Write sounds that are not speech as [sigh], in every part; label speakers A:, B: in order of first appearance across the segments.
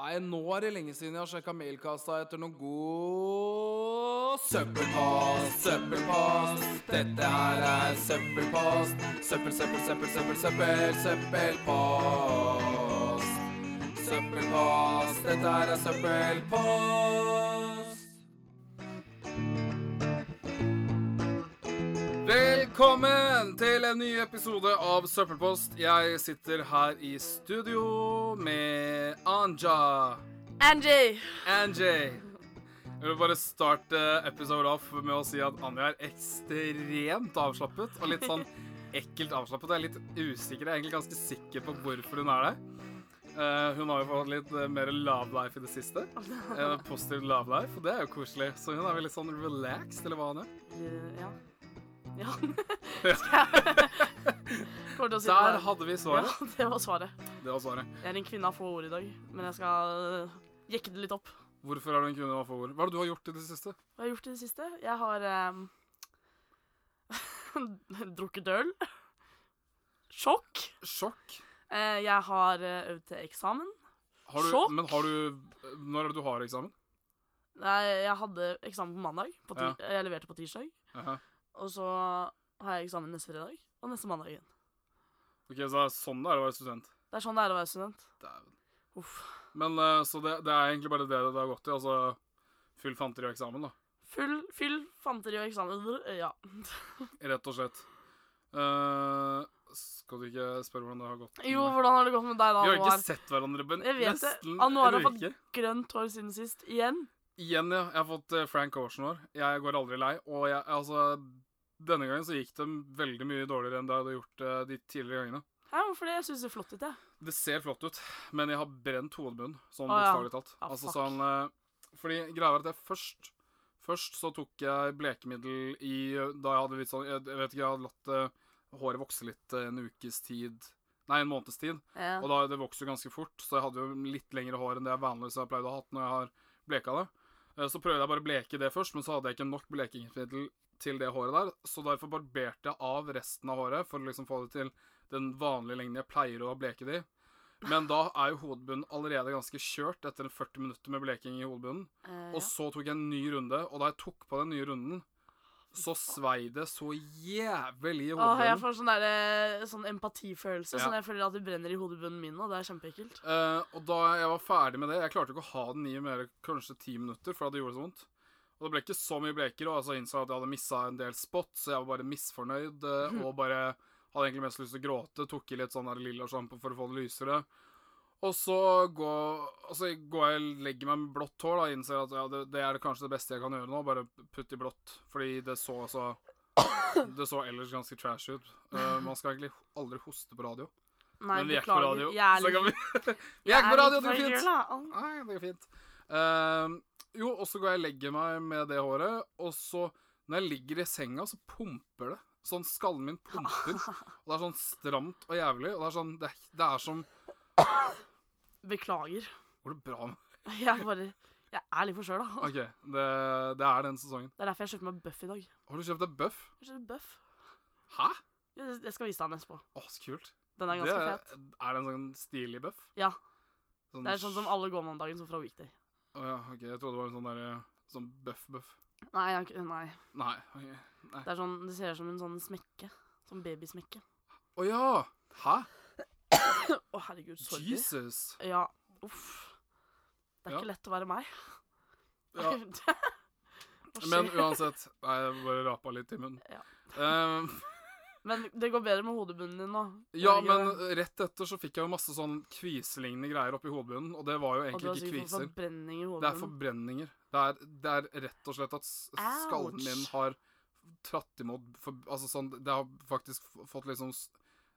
A: Nei, nå er det lenge siden jeg har sjekka mailkassa etter noen god søppelpost. Søppelpost. Dette her er søppelpost. Søppel, søppel, søppel, søppel, søppel, søppelpost. Søppelpost. Dette her er søppelpost. Velkommen til en ny episode av Søppelpost. Jeg sitter her i studio med Anja.
B: Angie!
A: Angie. Jeg vil bare starte episode off med å si at Anja er ekstremt avslappet. Og litt sånn ekkelt avslappet. Jeg er litt usikker. Jeg er egentlig ganske sikker på hvorfor hun er det. Eh, hun har jo fått litt eh, mer love life i det siste. Eh, positiv love life, og det er jo koselig. Så hun er veldig sånn relaxed, eller hva hun er.
B: Eh, Ja. [laughs] Ja.
A: Ja.
B: Kommer til å si det
A: Der
B: der.
A: hadde vi svaret.
B: Ja, det var svaret.
A: Det var svaret.
B: Jeg er en kvinne av få ord i dag, men jeg skal eh, jekke det litt opp.
A: Hvorfor er du en kvinne av få ord? Hva er det du har gjort i det siste?
B: Hva har jeg gjort i det siste? Jeg har ehm, [laughs] drukket øl. Sjokk.
A: Sjokk.
B: Eh, jeg har eh, øvd til eksamen.
A: Har du,
B: Sjokk?
A: Men har du Når er det du har eksamen?
B: Nei, jeg hadde eksamen på mandag. På ti-
A: Ja.
B: Jeg leverte på tirsdag.
A: Aha.
B: Og så har jeg eksamen neste fredag og neste mandag igjen.
A: Ok, Så det er sånn det er å være student.
B: Det er sånn det er å være student.
A: Dæven.
B: Uff.
A: Men eh, så det, det er egentlig bare det det har gått i. Altså full fanteri og eksamen, da.
B: Full, fyll, fanteri og eksamen. Ja. [laughs]
A: Rett og slett. Eh, skal du ikke spørre hvordan det har gått?
B: Jo, hvordan har det gått med deg da,
A: Mm. Vi har ikke
B: Anwar?
A: sett hverandre på en-
B: Jeg vet det.
A: nesten
B: Anwar har
A: en
B: fått
A: uke.
B: grønt hår siden sist. Igjen.
A: Igjen, ja. Jeg har fått eh, Frank Ocean år. Jeg går aldri lei. Og jeg, altså Denne gangen så gikk det veldig mye dårligere enn det hadde gjort eh, de tidligere gangene.
B: Hæ, hvorfor det? Jeg syns det er flott ut, jeg.
A: Det ser flott ut, men jeg har brent hodebunnen, sånn
B: Å, ja.
A: bokstavelig talt.
B: Ja,
A: altså
B: fuck.
A: sånn eh, Fordi greia er at jeg først Først så tok jeg blekemiddel i eh, Da jeg hadde litt sånn Jeg, jeg vet ikke, jeg hadde latt eh, håret vokse litt eh, en ukes tid Nei, en måneds tid.
B: Ja.
A: Og da, det vokser jo ganske fort, så jeg hadde jo litt lengre hår enn det jeg vanligvis har pleid å ha hatt når jeg har bleka det. Eh, Så prøvde jeg bare å bleke det først, men så hadde jeg ikke nok blekingsmiddel til det håret der, så derfor barberte jeg av resten av håret for å liksom få det til den vanlige lengden jeg pleier å bleke det i. Men da er jo hodebunnen allerede ganske kjørt etter 40 minutter med bleking i hodebunnen.
B: Eh,
A: Og så tok jeg en ny runde, og da jeg tok på den nye runden, så svei det så jævlig i
B: ja. Åh, jeg
A: hodebunnen.
B: får sånn, der, eh, sånn empatifølelse.
A: Ja.
B: Sånn jeg føler at det brenner i hodebunnen min nå. Det er kjempeekkelt.
A: Eh, og da jeg var ferdig med det Jeg klarte ikke å ha den i mer kanskje ti minutter, for det gjorde så vondt. Og det ble ikke så mye bleker, og så innså jeg at jeg hadde missa en del spots, så jeg var bare misfornøyd eh, og bare hadde egentlig mest lyst til å gråte. Tok i litt sånn der lilla sjampo for å få det lysere. Og så går, og så går jeg og legger meg med blått hår da, og innser at ja, det, det er kanskje det beste jeg kan gjøre nå. Bare putte i blått. Fordi det så så Det så ellers ganske trash ut. Eh, man skal egentlig aldri hoste på radio.
B: Nei,
A: Men vi er ikke på
B: beklager.
A: radio.
B: Jeg er
A: så
B: litt-
A: kan vi [laughs] Vi er ikke på radio,
B: litt
A: det går
B: fra
A: fint.
B: jula. Au.
A: Nei, det går fint. Ehm, jo, og så går jeg og legger meg med det håret, og så når jeg ligger i senga, så pumper det. Sånn skallen min pumper. Og det er sånn stramt og jævlig. Og det er sånn Det er, det er som
B: Beklager. [laughs]
A: Går det bra med
B: Jeg bare Jeg er litt for sjøl, da.
A: OK, det, det er den sesongen.
B: Det er derfor jeg kjøpte meg Buff i dag.
A: Har du kjøpt deg Buff?
B: Jeg kjøpte Buff.
A: Hæ?
B: Ja, det- Jeg skal vise deg den etterpå.
A: Å, så kult.
B: Den er ganske fet.
A: Er det en sånn stilig Buff?
B: Ja. Det er sånn som alle går mandagen, som fra Weekday.
A: Å ja, OK. Jeg trodde det var en sånn derre Sånn Buff-Buff.
B: Nei, jeg, har ikke- nei.
A: Nei. ok.
B: Det, er sånn, det ser ut som en sånn smekke. Sånn babysmekke.
A: Å ja! Hæ?
B: [coughs] Å, herregud, sorry.
A: Jesus.
B: Ja, uff. Det er
A: Ja.
B: ikke lett å være meg. [laughs]
A: Ja.
B: Hva skjer?
A: Men uansett Nei, jeg bare rapa litt i munnen.
B: Ja.
A: Eh,
B: [laughs] men det går bedre med hodebunnen din nå. eh,
A: ja,
B: Gjør det
A: men
B: ikke det?
A: rett etter så fikk jeg jo masse sånn kviselignende greier oppi hodebunnen, og det var jo
B: Og du
A: egentlig
B: har
A: ikke
B: sikkert
A: kviser.
B: fått sånn forbrenning i
A: Det er
B: hodebunnen.
A: forbrenninger. Det er, det er rett og slett at s- skallen
B: Ouch.
A: min har tratt imot for, Altså sånn Det har faktisk f- fått liksom s-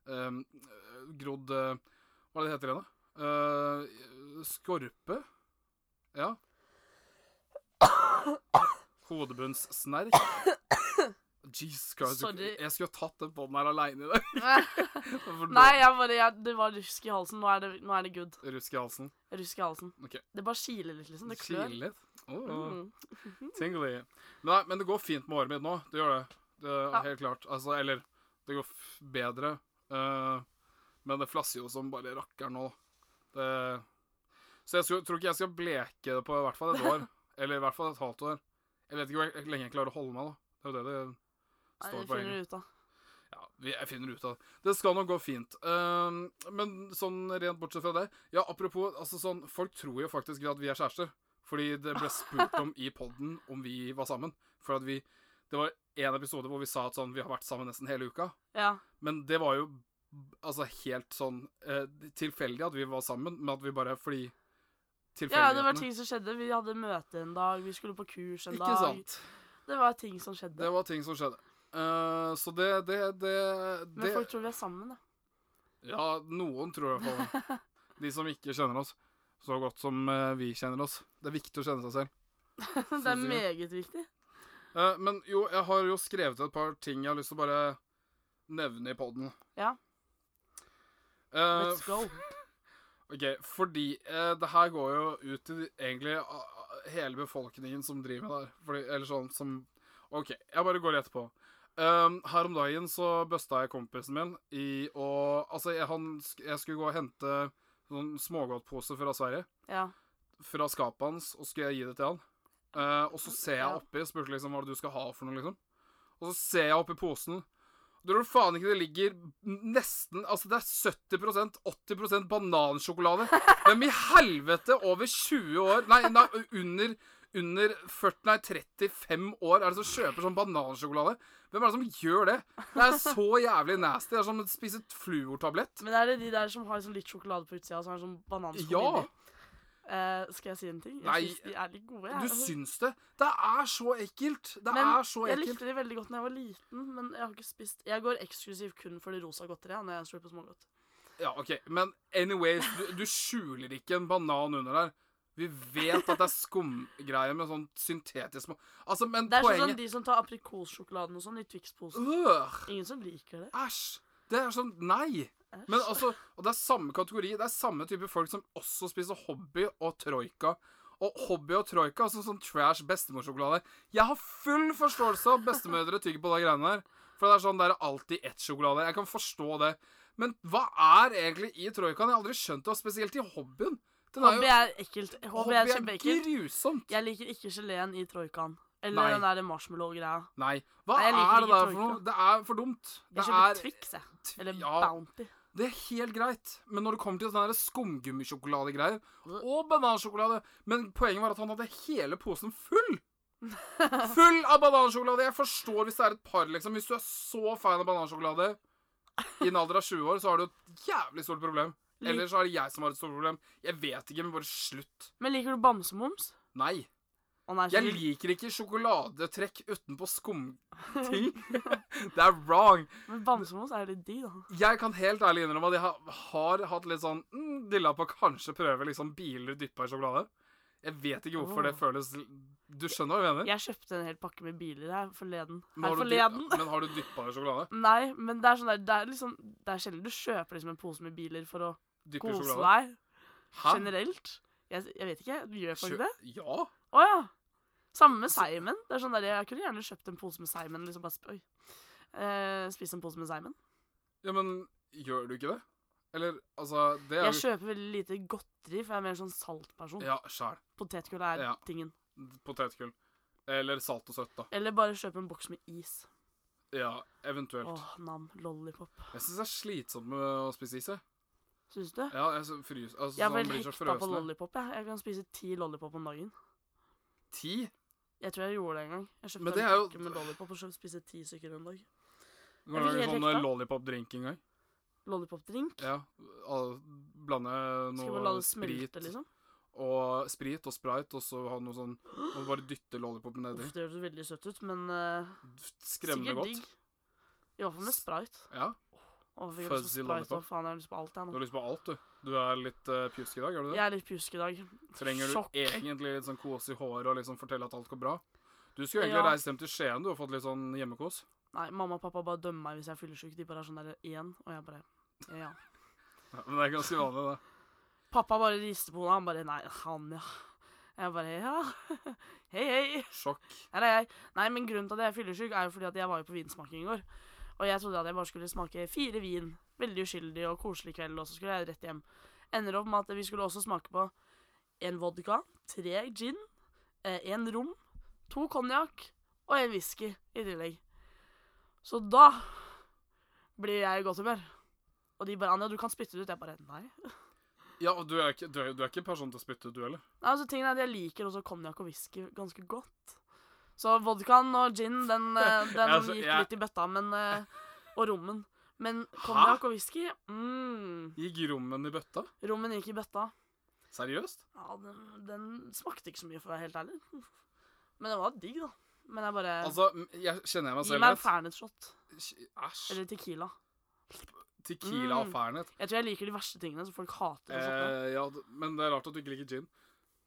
A: ehm, øh, grodd eh, Hva er det det heter igjen, da? Eh, skorpe? Ja. Hodebunnssnerk. Jesus Christ. du-
B: Sorry.
A: Jeg skulle ha tatt den bånden her aleine i dag.
B: [laughs]
A: [laughs] For
B: Nei, jeg bare, jeg, det var rusk i halsen. Nå er det, nå er det good.
A: nå- Rusk i halsen.
B: Rusk i halsen.
A: Ok.
B: Det bare kiler litt, liksom. Det klør.
A: Kiler litt. Åh.
B: Mm.
A: Tingly. Nei, men det går fint med håret mitt nå. Det gjør det. det er
B: Ja.
A: Helt klart. Altså, eller Det går f bedre. Eh, men det flasser jo som bare rakker nå. Det Så jeg skulle, tror ikke jeg skal bleke det på i hvert fall et
B: [laughs]
A: år. eller i hvert fall et halvt år. Jeg vet ikke hvor jeg- lenge jeg klarer å holde meg, da. Det er jo det det
B: Nei,
A: står
B: det
A: på
B: finner
A: engelsk.
B: du ut av.
A: Ja, vi- jeg finner ut av det. Det skal nok gå fint. Ehm, men sånn rent bortsett fra det Ja, apropos, altså sånn Folk tror jo faktisk at vi er kjærester. Fordi det ble spurt om i poden om vi var sammen. For at vi Det var én episode hvor vi sa at sånn Vi har vært sammen nesten hele uka.
B: Ja.
A: Men det var jo b- altså helt sånn eh, tilfeldig at vi var sammen, men at vi bare fordi
B: ja, det var
A: tilfeldighetene.
B: ting som skjedde. Vi hadde møte en dag, vi skulle på kurs en
A: Ikke
B: dag.
A: sant.
B: Det var ting som skjedde.
A: Det var ting som skjedde. Eh, så det det, det,
B: Men
A: det
B: folk tror vi er sammen, da.
A: Ja, noen tror jeg på
B: [laughs]
A: det. De som ikke kjenner oss så godt som eh, vi kjenner oss. Det er viktig å kjenne seg selv.
B: det er
A: Synes jeg.
B: meget viktig.
A: Eh, men jo, jeg har jo skrevet et par ting jeg har lyst til å bare nevne i Eh, poden.
B: Ja. Let's go.
A: Ok, fordi eh, det her går jo ut til egentlig ah, hele befolkningen som driver med det her. Fordi, eller sånn som OK, jeg bare går rett på. Um, her om dagen så busta jeg kompisen min i å Altså, jeg, han, sk- jeg skulle gå og hente sånn smågodtpose fra Sverige.
B: Ja.
A: Fra skapet hans, og skulle jeg gi det til han. Eh, og så ser jeg
B: Ja.
A: oppi og spurte liksom hva er det du skal ha for noe, liksom. Og så ser jeg oppi posen. Du tror faen ikke det ligger nesten Altså, det er 70 80 banansjokolade. Hvem i helvete over 20 år Nei, nei under, under 40, nei, 35 år er det som kjøper sånn banansjokolade? Hvem er det som gjør det? Det er så jævlig nasty. Det er som å spise fluortablett.
B: Men er det de der som har sånn litt sjokolade på utsida, og så har de sånn bananskall
A: Ja.
B: inni? Eh, skal jeg si en ting? Jeg
A: Nei.
B: synes de er litt gode. jeg.
A: Du
B: Altså,
A: syns det? Det er så ekkelt. Det
B: Men
A: er så
B: jeg
A: ekkelt.
B: likte de veldig godt da jeg var liten, men jeg har ikke spist Jeg går eksklusivt kun for de rosa godteriet når jeg står på smågodt.
A: Ja, ok, men anyways, du, du skjuler ikke en banan under der. Vi vet at det er skumgreier med sånn syntetisk smak. Altså, men
B: Det er sånn som
A: poenget
B: de som tar aprikossjokoladen og sånn i Twix-posen.
A: Øh,
B: Ingen som liker det.
A: Æsj! Det er sånn Nei!
B: Æsj.
A: Men altså, og det er samme kategori. Det er samme type folk som også spiser hobby og troika. Og hobby og troika, altså sånn trash bestemorsjokolade. Jeg har full forståelse av at bestemødre tygger på de greiene der. For det er sånn, det er alltid ett sjokolade. Jeg kan forstå det. Men hva er egentlig i troikaen? Jeg har aldri skjønt det, og spesielt i hobbyen. Den er jo
B: Hobby er ekkelt. Hobby er kjempeekkelt.
A: grusomt.
B: Jeg liker ikke geleen i troikaen. Eller
A: Nei.
B: den der marshmallow-greia.
A: Nei. Hva
B: Nei, jeg
A: er
B: liker
A: det
B: ikke
A: der for noe?
B: troika.
A: Det er for dumt. Det
B: Jeg kjøper
A: er
B: Twix, jeg.
A: tv-
B: Eller
A: ja,
B: Bounty.
A: det er helt greit. Men når det kommer til sånne der skumgummisjokoladegreier
B: Bleh.
A: og banansjokolade Men poenget var at han hadde hele posen full. Full av banansjokolade. Jeg forstår hvis det er et par, liksom. Hvis du er så fan av banansjokolade i en alder av 20 år, så har du et jævlig stort problem.
B: Lik-
A: Eller så er det jeg som har et stort problem. Jeg vet ikke, men bare slutt.
B: Men liker du bamsemums?
A: Nei.
B: Å nei,
A: Jeg
B: så-
A: liker ikke sjokoladetrekk utenpå skumting. Det er wrong.
B: Men bamsemums er jo litt digg, da.
A: Jeg kan helt ærlig innrømme at jeg har, har hatt litt sånn mm, dilla på å kanskje prøve liksom biler dyppa i sjokolade. Jeg vet ikke hvorfor det
B: Åh.
A: føles Du skjønner hva jeg mener?
B: Jeg kjøpte en hel pakke med biler her forleden.
A: Men har
B: Her
A: du dypp-
B: forleden.
A: Men har du dyppa i sjokolade?
B: Nei, men det er sånn der, det er liksom Det er sjelden du kjøper liksom en pose med biler for å
A: Dypper i
B: kose
A: sjokolade?
B: deg.
A: Hæ?
B: Generelt. Jeg, jeg vet ikke. Du gjør folk
A: Kjø-
B: det?
A: Ja.
B: Å ja. Samme med Simon. Det er sånn der, jeg kunne gjerne kjøpt en pose med Simon. Liksom bare sp Oi. Eh, spise en pose med Simon.
A: ja, men gjør du ikke det? Eller altså Det er
B: Jeg
A: jo
B: kjøper veldig lite godteri, for jeg er mer sånn saltperson.
A: Ja, sjæl.
B: Potetgull er
A: Ja.
B: tingen.
A: Potetgull. Eller salt og søtt, da.
B: Eller bare kjøpe en boks med is.
A: Ja, eventuelt.
B: Åh, nam. Lollipop.
A: Jeg syns det er slitsomt med å spise is, jeg.
B: Syns du?
A: Ja, jeg så- frys, altså,
B: Jeg er
A: sånn
B: vel
A: blir så
B: hekta på
A: frøsende.
B: lollipop. Jeg. jeg kan spise ti lollipop om dagen.
A: Ti?
B: Jeg tror jeg gjorde det en gang. Jeg
A: Men
B: kjøpte
A: det
B: en
A: er jo-
B: pakke med lollipop og så spiste ti stykker en dag.
A: Går det an
B: Jeg blir
A: å
B: helt
A: sånn
B: hekta.
A: lollipop-drink en gang?
B: Lollipop-drink.
A: Ja. al- Blande
B: Skal vi la
A: noe
B: det smelte,
A: sprit,
B: liksom?
A: og, sprit og sprite, og så ha noe sånn Og bare dytte lollipopen nedi.
B: Uff, det høres veldig søtt ut, men eh,
A: Skremmende
B: sikkert
A: godt.
B: digg. I hvert fall med sprite.
A: Ja.
B: Å, jeg fikk lyst på
A: Fuzzy
B: Sprite,
A: lollipop.
B: Hva faen, jeg har lyst på alt, jeg
A: Du
B: nå.
A: har lyst på alt, du. Du er litt eh, pjusk i dag, gjør du det?
B: Jeg er litt pjusk i dag.
A: Trenger du
B: sjokk.
A: egentlig litt sånn kos i håret og liksom fortelle at alt går bra? Du skulle egentlig
B: Ja.
A: reist hjem til Skien, du, og fått litt sånn hjemmekos.
B: Nei, mamma og pappa bare dømmer meg hvis jeg er fyllesyk. De bare er sånn der én, og jeg bare ja.
A: Ja, men det er ganske vanlig, det.
B: Pappa bare rister på hodet. Han bare Nei, han, ja. Jeg bare ja. [laughs] Hei, hei.
A: Sjokk.
B: Her er jeg. Nei, men grunnen til at jeg er fyllesyk, er jo fordi at jeg var jo på vinsmaking i går. Og jeg trodde at jeg bare skulle smake fire vin. Veldig uskyldig og koselig kveld, og så skulle jeg rett hjem. Ender opp med at vi skulle også smake på en vodka, tre gin, eh, en rom, to konjakk og en whisky i tillegg. Så da blir jeg i godt humør. Og de bare 'Anja, du kan spytte det ut.' Jeg bare 'Nei'.
A: Ja, og du er ikke, du er, du er ikke person til å spytte ut, du heller.
B: Nei, altså tingen er at Jeg liker også konjakk og whisky ganske godt. Så vodkaen og gin
A: [laughs]
B: den, eh, den
A: Ja, altså,
B: gikk
A: jeg-
B: litt i bøtta, men eh, Og rommen. Men
A: Hæ?
B: konjakk og whisky mm,
A: Gikk rommen i bøtta?
B: Rommen gikk i bøtta.
A: Seriøst?
B: Ja, den, den smakte ikke så mye, for å være helt ærlig. Men det var digg, da. Men jeg bare
A: Altså, m- jeg kjenner jeg meg
B: Gi meg en
A: selv rett.
B: fernet shot.
A: Æsj.
B: Eller tequila.
A: Tequila og
B: Mm.
A: fernet.
B: Jeg tror jeg liker de verste tingene, så folk hater det. sånn.
A: Eh, ja, d- men det er rart at du ikke liker gin.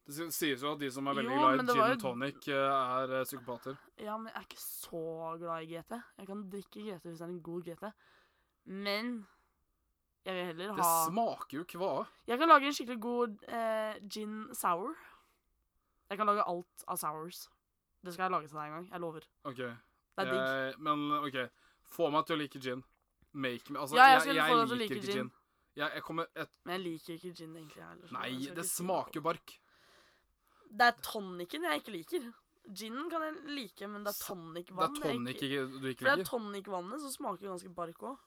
A: Det si- sies jo at de som er veldig
B: Jo,
A: glad i
B: men det
A: gin
B: var
A: og
B: jo-
A: tonic, eh, er eh, psykopater.
B: Ja, men jeg er ikke så glad i GT. Jeg kan drikke GT hvis det er en god GT. Men jeg vil heller
A: Det
B: ha
A: smaker jo kvae.
B: Jeg kan lage en skikkelig god eh, gin sour. Jeg kan lage alt av sours. Det skal jeg lage til deg en gang. Jeg lover.
A: OK.
B: Det er digg.
A: Jeg, men OK, få meg til å like gin. Make me Altså,
B: Ja, jeg
A: jeg,
B: skulle
A: jeg,
B: få deg til å
A: liker
B: like
A: ikke
B: gin.
A: gin. Jeg, jeg kommer et,
B: Men jeg liker ikke gin egentlig. jeg heller, så
A: Nei,
B: jeg skal
A: det
B: ikke si noe på
A: smaker jo bark.
B: Det er tonicen jeg ikke liker. Ginen kan jeg like, men det er
A: S- Det er
B: tonicvann. jeg
A: tonic
B: ikke-
A: ikke, du ikke
B: For det er
A: liker.
B: tonicvannet som smaker ganske bark òg.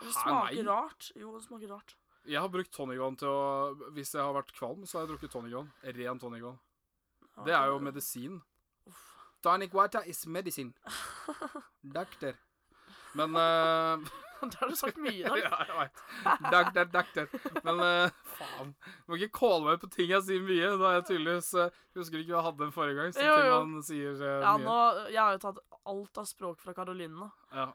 B: Det
A: Hæ,
B: smaker
A: nei.
B: rart. Jo, det smaker rart.
A: Jeg har brukt tonicvann til å Hvis jeg har vært kvalm, så har jeg drukket tonicvann. Ren tonicvann.
B: Ja,
A: Det er jo
B: [laughs]
A: medisin.
B: Uff.
A: Tonic water is medicine. Doctor. Men eh, [laughs]
B: Det har du sagt mye i dag.
A: Ja, jeg vet. Doctor, doctor. Men eh, faen. Du må ikke calle meg på ting jeg sier mye. Da er jeg tydeligvis eh, Husker ikke hva jeg hadde den forrige gang, så
B: Jo,
A: ting
B: jo.
A: man sier eh,
B: Ja,
A: mye.
B: nå, jeg har jo tatt alt av språk fra Karoline nå.
A: Ja.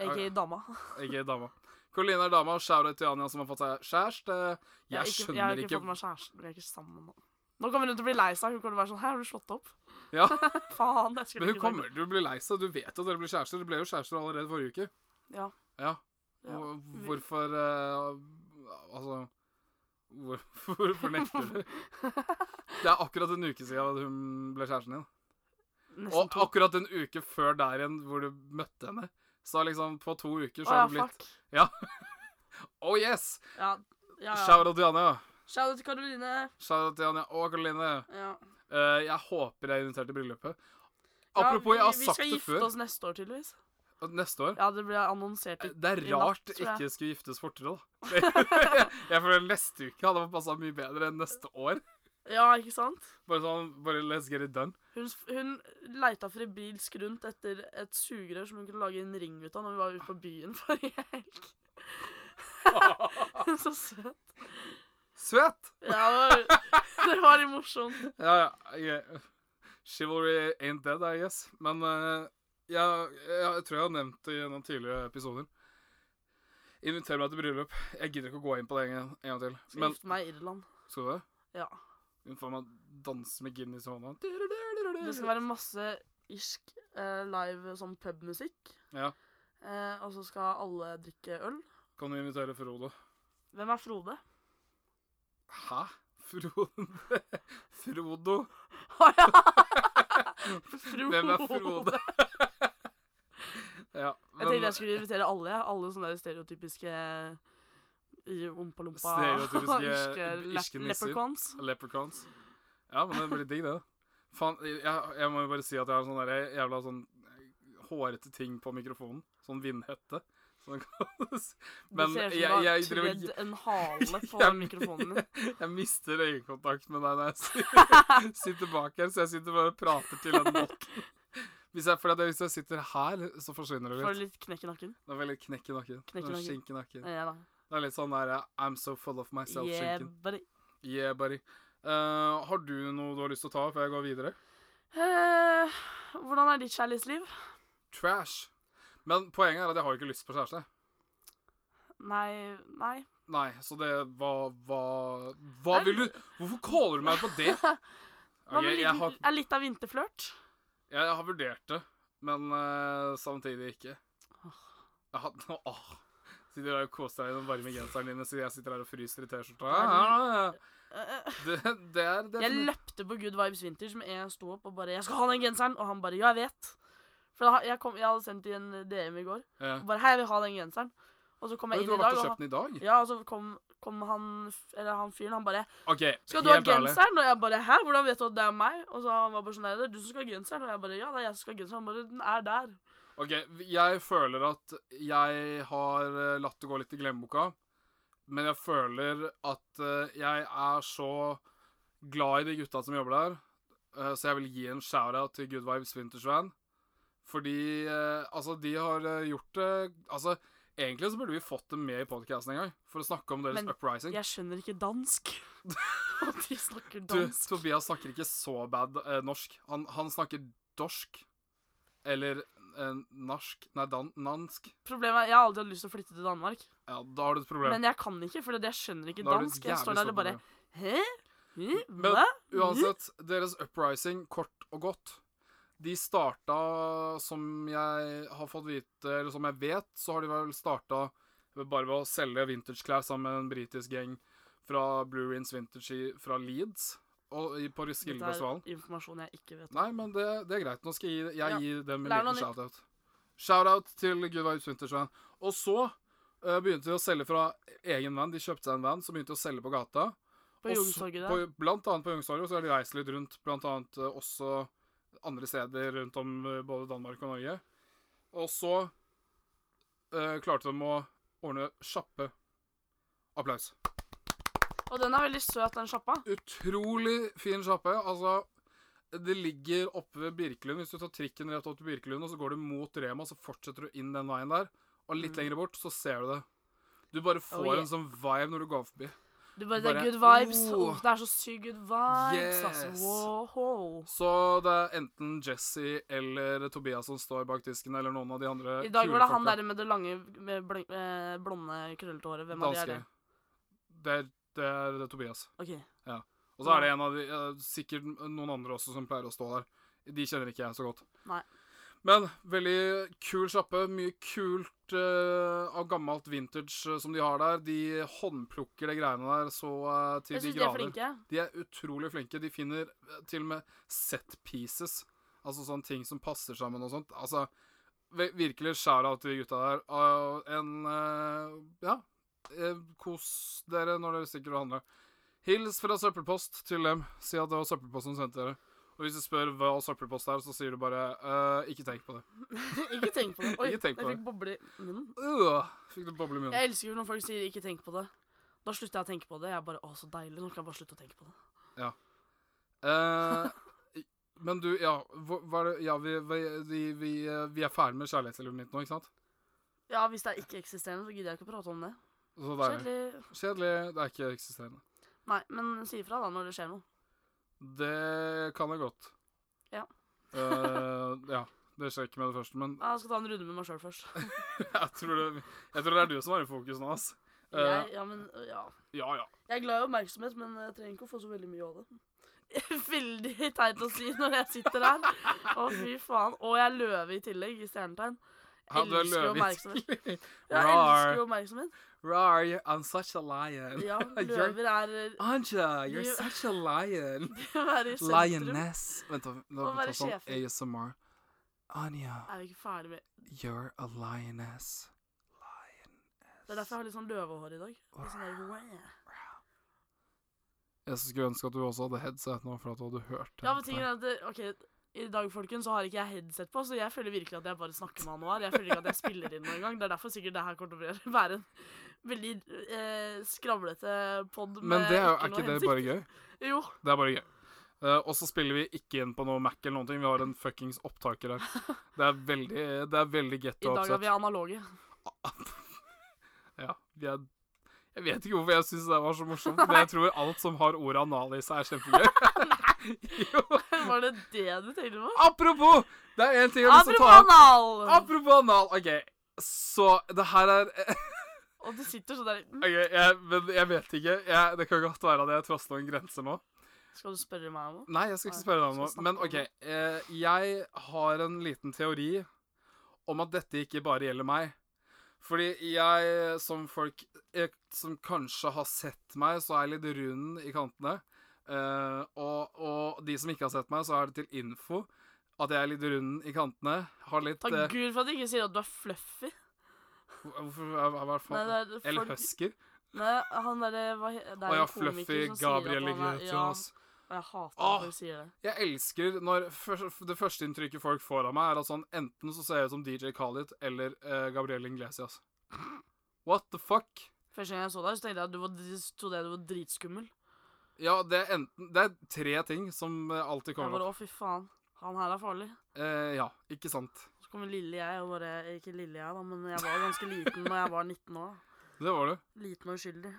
B: Ikke dama.
A: Ikke dama. Karoline er dama. Shout-out til Anja som har fått seg kjæreste.
B: Jeg,
A: Jeg
B: har ikke, jeg har
A: skjønner
B: ikke
A: ikke
B: fått meg kjæresten. Vi er ikke sammen nå. Nå kommer hun til å bli lei seg. Hun kommer til å være sånn Her har du slått opp.
A: [laughs] Ja,
B: [laughs] Faen. Jeg skulle
A: Men hun
B: ikke sagt
A: kommer til å bli lei seg. Du vet at dere blir kjærester. Dere ble jo kjærester allerede forrige uke.
B: Ja.
A: Ja.
B: Ja,
A: Hvor-
B: vi-
A: Hvorfor eh, Altså hvor, [laughs] Hvorfor nekter du? Det er akkurat en uke siden at hun ble kjæresten din.
B: det. Nesten
A: Og
B: to.
A: akkurat en uke før der igjen hvor du møtte henne. Så liksom på to uker
B: Å
A: så har
B: ja,
A: du blitt
B: fuck.
A: Oh yes!
B: Ja, ja, ja.
A: Shout out til Anja.
B: Shout out til Karoline.
A: Shout out til Anja og Karoline.
B: Ja.
A: Eh, jeg håper jeg er invitert til bryllupet. Apropos, jeg har sagt
B: Vi skal
A: det
B: gifte
A: før.
B: oss neste år, tydeligvis.
A: at Neste år.
B: Ja, det ble annonsert i
A: Det er
B: i natt,
A: rart
B: tror jeg.
A: ikke skulle giftes fortere, da. [laughs] jeg føler neste uke hadde passa mye bedre enn neste år.
B: Ja, ikke sant?
A: Bare sånn, bare let's get it
B: [laughs]
A: done.
B: Hun, hun leita fribilsk rundt etter et sugerør som hun kunne lage en ring ut av når vi var ute på byen [laughs] forrige helg. Så søt.
A: Svett!
B: Ja, det
A: [laughs]
B: var, det var litt morsomt.
A: Ja, ja. jeg- Chivalry ain't dead, I guess. Men eh, jeg, jeg, jeg tror jeg har nevnt det i noen tidligere episoder. Inviter meg til bryllup. Jeg gidder ikke å gå inn på det en, gang- en gang til.
B: Skal
A: Men
B: gifte meg i Irland.
A: skal du det?
B: Ja.
A: Hun får meg danse med Guinness i hånda.
B: Det
A: Mm.
B: skal være masse irsk eh, live sånn pubmusikk.
A: Ja.
B: Eh, og så skal alle drikke øl.
A: Kan du invitere Frode?
B: Hvem er Frode? [laughs]
A: Hæ? Frode? [laughs] Frodo?
B: Å ja! Frode.
A: Hvem er Frode? ja,
B: Jeg tenkte
A: men
B: jeg skulle invitere alle. jeg. Alle sånne der stereotypiske eh, i Ompalompa [laughs]
A: Stereotypiske irske nisser.
B: leprechauns.
A: Leprechauns. Ja, men det blir digg, det. Faen, jeg, jeg må jo bare si at jeg har sånn der jævla sånn hårete ting på mikrofonen. Sånn vindhette. Sånn kan [laughs] s-
B: Det
A: Men
B: ser ut
A: jeg-
B: som du har
A: jeg driver-
B: tredd en
A: [laughs]
B: hale på
A: Jeg-
B: mikrofonen din.
A: [laughs] jeg mister øyekontakt med deg når jeg sitter,
B: [laughs]
A: sitter bak her, så jeg sitter bare og prater til den måten. Hvis jeg, for at hvis jeg sitter her, så forsvinner det
B: Får
A: litt.
B: du litt knekk i nakken?
A: Det er veldig knekk i nakken.
B: Knekk i
A: Sånn
B: nakken.
A: Skink i nakken.
B: Ja da.
A: Det er litt sånn der I'm so full of
B: Yeah,
A: myself-skinken.
B: buddy.
A: Yeah, buddy. Eh, har du noe du har lyst til å ta før jeg går videre?
B: Eh, hvordan er ditt kjærlighetsliv?
A: Trash. Men poenget er at jeg har ikke lyst på kjæreste.
B: Nei, nei.
A: Nei, så det Hva Hva, hva vil du Hvorfor caller du meg på
B: [laughs]
A: det?
B: Hva
A: Ok,
B: med
A: jeg, har,
B: liten, er litt av vinterflørt?
A: jeg har vurdert det, men eh, samtidig ikke. Jeg har, åh. Sitter der og koser deg i den varme genseren din mens jeg sitter her og fryser i T-skjorta. Ja, ja, ja.
B: Eh,
A: Det, det er det
B: Jeg løpte på Good Vibes Vintage med en jeg sto opp og bare 'Jeg skal ha den genseren!' Og han bare 'Ja, jeg vet'. For da- jeg, kom, jeg hadde sendt i en DM i går.
A: Ja.
B: Og bare 'Hei, jeg vil ha den genseren'. Og så kom jeg
A: Oi,
B: inn
A: Du
B: i
A: har vært
B: dag
A: og
B: og
A: kjøpt den i dag?
B: Ja, og så kom, kom han, f- eller han fyren, han bare
A: OK,
B: 'Skal du ha
A: helt ærlig.
B: genseren?' Og jeg bare 'Hæ, hvordan vet du at det er meg?' Og så han var bare sånn 'Nei, det er du som skal ha genseren.' Og jeg bare 'Ja, det er jeg som skal ha genseren.' Han bare 'Den er der'.
A: Ok, jeg føler at jeg har eh, latt det gå litt i glemmeboka, men jeg føler at eh, jeg er så glad i de gutta som jobber der, eh, så jeg vil gi en shout-out til Good Vibes Vintage Van. Fordi eh, altså, de har eh, gjort det Altså, egentlig så burde vi fått dem med i podkasten en gang, for å snakke om deres
B: Men
A: uprising.
B: Jeg skjønner ikke
A: [laughs]
B: dansk. Og de snakker
A: Du,
B: dansk.
A: Tobias snakker ikke så bad eh, norsk. Han, han snakker dorsk. Eller eh, norsk Nei, dan nansk.
B: Problemet er, Jeg har alltid hatt lyst til å flytte til Danmark,
A: Ja, da har du et problem.
B: men jeg kan ikke, for jeg skjønner ikke
A: Da har du et
B: dansk. Jeg
A: jævlig sånn
B: står der
A: stort
B: og bare
A: problem.
B: 'Hæ? Hæ?
A: Men-
B: Hva?'
A: Uansett, deres uprising, kort og godt De starta, som jeg har fått vite, eller som jeg vet, så har de vel starta bare ved å selge vintageklær sammen med en britisk gjeng fra Blue Rins Vintage i, fra Leeds og i, på
B: Dette
A: Roskildefestivalen.
B: er informasjon jeg ikke vet.
A: Nei, men det, det er greit. Nå skal jeg gi, jeg
B: Ja,
A: gi dem en
B: lær noe
A: liten
B: nytt.
A: shout-out. Shout-out til Gudvard Wintersveien. Og så eh, begynte de å selge fra egen van. De kjøpte seg en van, så begynte de å selge på gata.
B: På
A: Og så-
B: Youngstorget der.
A: på- Blant annet på Youngstorget, og så har de reist litt rundt, blant annet eh, også andre steder rundt om eh, både Danmark og Norge. Og så eh, klarte de å ordne kjappe applaus.
B: Og den er veldig søt, den sjappa.
A: Utrolig fin sjappe. Altså, det ligger oppe ved Birkelund. Hvis du tar trikken rett opp til Birkelund, og så går du mot Rema, så fortsetter du inn den veien der. Og litt
B: Mm.
A: lenger bort, så ser du det. Du bare får
B: yeah.
A: en sånn vibe når du går forbi.
B: Du bare, Det
A: Bare,
B: er good vibes.
A: «Oh».
B: Åh, det er så sykt good vibes.
A: Yes.
B: Altså. Wow.
A: Så det er enten Jesse eller Tobias som står bak disken, eller noen av de andre
B: I dag var det han
A: kule folka.
B: der med det lange, med bl- med blonde, krøllete håret. Hvem av de er det?
A: Danske. Det er, det er det er Tobias.
B: Ok.
A: Og så er det en av de, eh, sikkert noen andre også som pleier å stå der. De kjenner ikke jeg så godt.
B: Nei.
A: Men veldig kul sjappe. Mye kult eh, av gammelt vintage eh, som de har der. De håndplukker de greiene der så eh, til
B: Jeg
A: de
B: syns de er
A: grader.
B: flinke. [laughs]
A: De er utrolig flinke. De finner eh, til og med set pieces. Altså sånne ting som passer sammen og sånt. Altså, vi- virkelig skjæra av til de gutta der. Og en eh, Ja. eh, Kos dere når dere stikker og handler. Hils fra søppelpost til dem. Si at det var søppelpost som sendte dere. Og hvis du spør hva søppelpost er, så sier du bare eh, 'ikke tenk på det'.
B: ikke tenk på det. Oi,
A: [laughs] Ikke tenk på
B: jeg
A: det.
B: fikk boble i munnen.
A: Øh, fikk du boble i munnen.
B: Jeg elsker jo når folk sier 'ikke tenk på det'. Da slutter jeg å tenke på det. Jeg bare, å, så deilig. Nå kan jeg bare slutte å tenke på det.
A: Eh, men du, ja, hva, hva er det, ja vi, vi, vi, vi, eh, vi er ferdig med kjærlighetslivet mitt nå, ikke sant?
B: Ja, Hvis det er ikke-eksisterende, så gidder jeg ikke å prate om det.
A: Så deilig.
B: Kjedelig.
A: Kjedelig. Det er ikke eksisterende.
B: Nei, men si ifra da når det skjer noe.
A: Det kan jeg godt.
B: Ja.
A: Eh, ja. Det skjer ikke med det første, men [laughs]
B: Jeg skal ta en runde med meg sjøl først.
A: jeg tror det, jeg tror det er du som er i fokus nå, ass. Eh,
B: Jeg, ja, men, ja.
A: ja, ja.
B: Jeg er glad i oppmerksomhet, men jeg trenger ikke å få så veldig mye av det. [laughs] Veldig teit å si når jeg sitter her. Å, fy faen. Og jeg er løve i tillegg, i stjernetegn.
A: Ja, du er
B: elsker jo
A: løve i
B: oppmerksomhet.
A: [laughs] tillegg.
B: Jeg elsker jo oppmerksomhet.
A: Rar, I'm such a lion.
B: Ja,
A: You're-
B: løver er [laughs]
A: Anja, you're
B: Du-
A: such a
B: [laughs]
A: lion.
B: å være i sentrum.
A: Lioness. Vent, da. da
B: Å
A: må vi
B: være
A: ta sånn
B: sjefen.
A: ASMR. Anja,
B: Er vi ikke ferdig med
A: you're a lioness.
B: Det er derfor jeg har litt sånn løvehår i dag. Litt sånn der, wow.
A: Jeg skulle ønske at du også hadde headset nå, for at du hadde hørt det.
B: Ja, men tingen er at det- OK, i dag, folkens, så har ikke jeg headset på, så jeg føler virkelig at jeg bare snakker med han nå her. Jeg føler ikke at jeg spiller inn noe engang. Det er derfor sikkert det her kommer til å være [laughs] en veldig eh, skravlete pod med
A: men det er, jo- er
B: noe
A: ikke det
B: hensikt.
A: bare gøy?
B: Jo.
A: Det er bare gøy. Eh, og så spiller vi ikke inn på noe Mac eller noen ting. Vi har en fuckings opptaker
B: [laughs]
A: her. Det er veldig, det er veldig
B: I
A: ghetto
B: dag er vi
A: oppsett.
B: analoge. [laughs]
A: Ja, vi er Jeg vet ikke hvorfor jeg syns det var så morsomt, men
B: [laughs]
A: jeg tror alt som har ordet anal i seg, er kjempegøy. [laughs] jo.
B: Var det det du tenkte på?
A: Apropos! Det er én ting jeg har lyst til å
B: Apropos
A: ta opp.
B: anal!
A: Apropos anal. OK, så det her er [laughs]
B: Og du sitter sånn der mm,
A: OK, jeg, men jeg vet ikke. Jeg, det kan godt være at jeg trosser noen grenser nå.
B: Skal du spørre meg om noe?
A: Nei, jeg skal ikke
B: Nei,
A: spørre deg om
B: skal
A: noe.
B: snakke
A: Men
B: om
A: OK.
B: det.
A: Eh, jeg har en liten teori om at dette ikke bare gjelder meg. Fordi jeg, som folk eh, som kanskje har sett meg, så er jeg litt rund i kantene. Eh, og, og de som ikke har sett meg, så er det til info at jeg er litt rund i kantene. Har litt
B: Takk
A: eh,
B: gud for at du ikke sier at du er fluffy.
A: Hvorfor hva- hva- hva
B: Nei,
A: faen?
B: det er
A: Eller
B: folk-
A: husky?
B: Nei, han derre hva he- Det
A: Å
B: er
A: ja,
B: en
A: Fluffy
B: komiker som sier at
A: Gabriel
B: han er Ja,
A: Iglesias.
B: og jeg hater
A: Åh!
B: at han sier det.
A: Jeg elsker når først, det første inntrykket folk får av meg, er at sånn enten så ser jeg ut som DJ Khalid eller eh, Gabriel Inglesias. What the fuck?
B: Første gang jeg så deg, så tenkte jeg at du var, trodde jeg du var dritskummel.
A: Ja, det er enten Det er tre ting som eh, alltid
B: Jeg
A: kommer
B: bare
A: opp.
B: å, fy faen. Han her er farlig.
A: Eh, ja, ikke sant.
B: Så kommer lille jeg, og bare Ikke lille jeg, da, men jeg var ganske liten da jeg var 19 år. da.
A: Det var det.
B: Liten og uskyldig.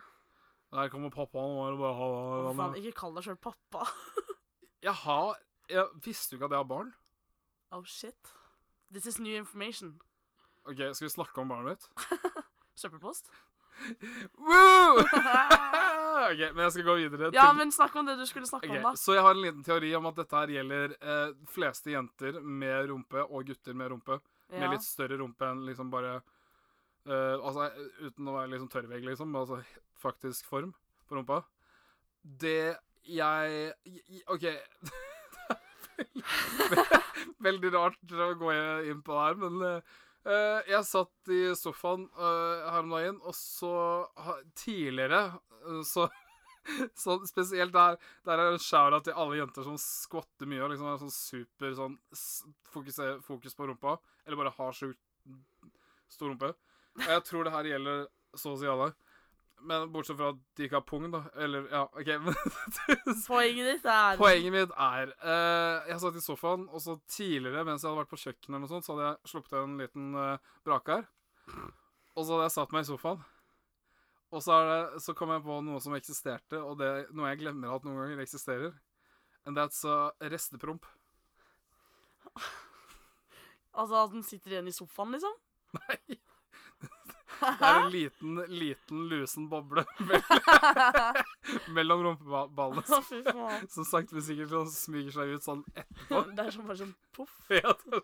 A: Der kommer pappaen vår og bare ha,
B: Å,
A: ha, ha,
B: faen, ikke kall deg sjøl pappa. [laughs]
A: Jeg har Jeg visste jo ikke at jeg har barn.
B: Oh shit. This is new information.
A: OK, skal vi snakke om barnet
B: [laughs]
A: mitt? [laughs]
B: Søppelpost?
A: Woo! [laughs] OK, men jeg skal gå videre.
B: Ja,
A: til-
B: men snakk om det du skulle snakke
A: Ok,
B: om, da.
A: Så jeg har en liten teori om at dette her gjelder eh, fleste jenter med rumpe og gutter med rumpe. Med
B: Ja.
A: litt større rumpe enn liksom bare eh, Altså uten å være liksom tørrvegg, liksom. men Altså faktisk form på rumpa. Det jeg i- i- OK. [laughs] Veldig rart å gå inn på det her, men eh, eh, jeg satt i sofaen eh, her om dagen, og så ha- Tidligere eh, så [laughs] så spesielt der, der er en shout-out til alle jenter som skvatter mye og liksom har sånn super sånn s- fokuser, fokus på rumpa. Eller bare har sjukt stor rumpe. Og jeg tror det her gjelder så å si alle. Men bortsett fra at de ikke har pung, da. Eller ja, OK. [laughs] Men
B: Poenget ditt
A: [laughs]
B: er
A: Poenget mitt er eh, Jeg satt i sofaen, og så tidligere mens jeg hadde vært på kjøkkenet, eller noe sånt, så hadde jeg sluppet en liten eh, brake her. Og så hadde jeg satt meg i sofaen. Og så, er det, så kom jeg på noe som eksisterte, og det noe jeg glemmer at noen ganger eksisterer. And that's uh, restepromp.
B: Altså at den sitter igjen i sofaen, liksom?
A: [laughs] Nei. Det er en liten, liten lusen boble [laughs] mellom, mellom rumpeballene
B: [laughs] Å, fy faen.
A: som sakte, men sikkert sånn smyger seg ut sånn [laughs] etterpå.
B: Det er sånn bare sånn
A: [laughs]
B: poff.
A: Ja, det-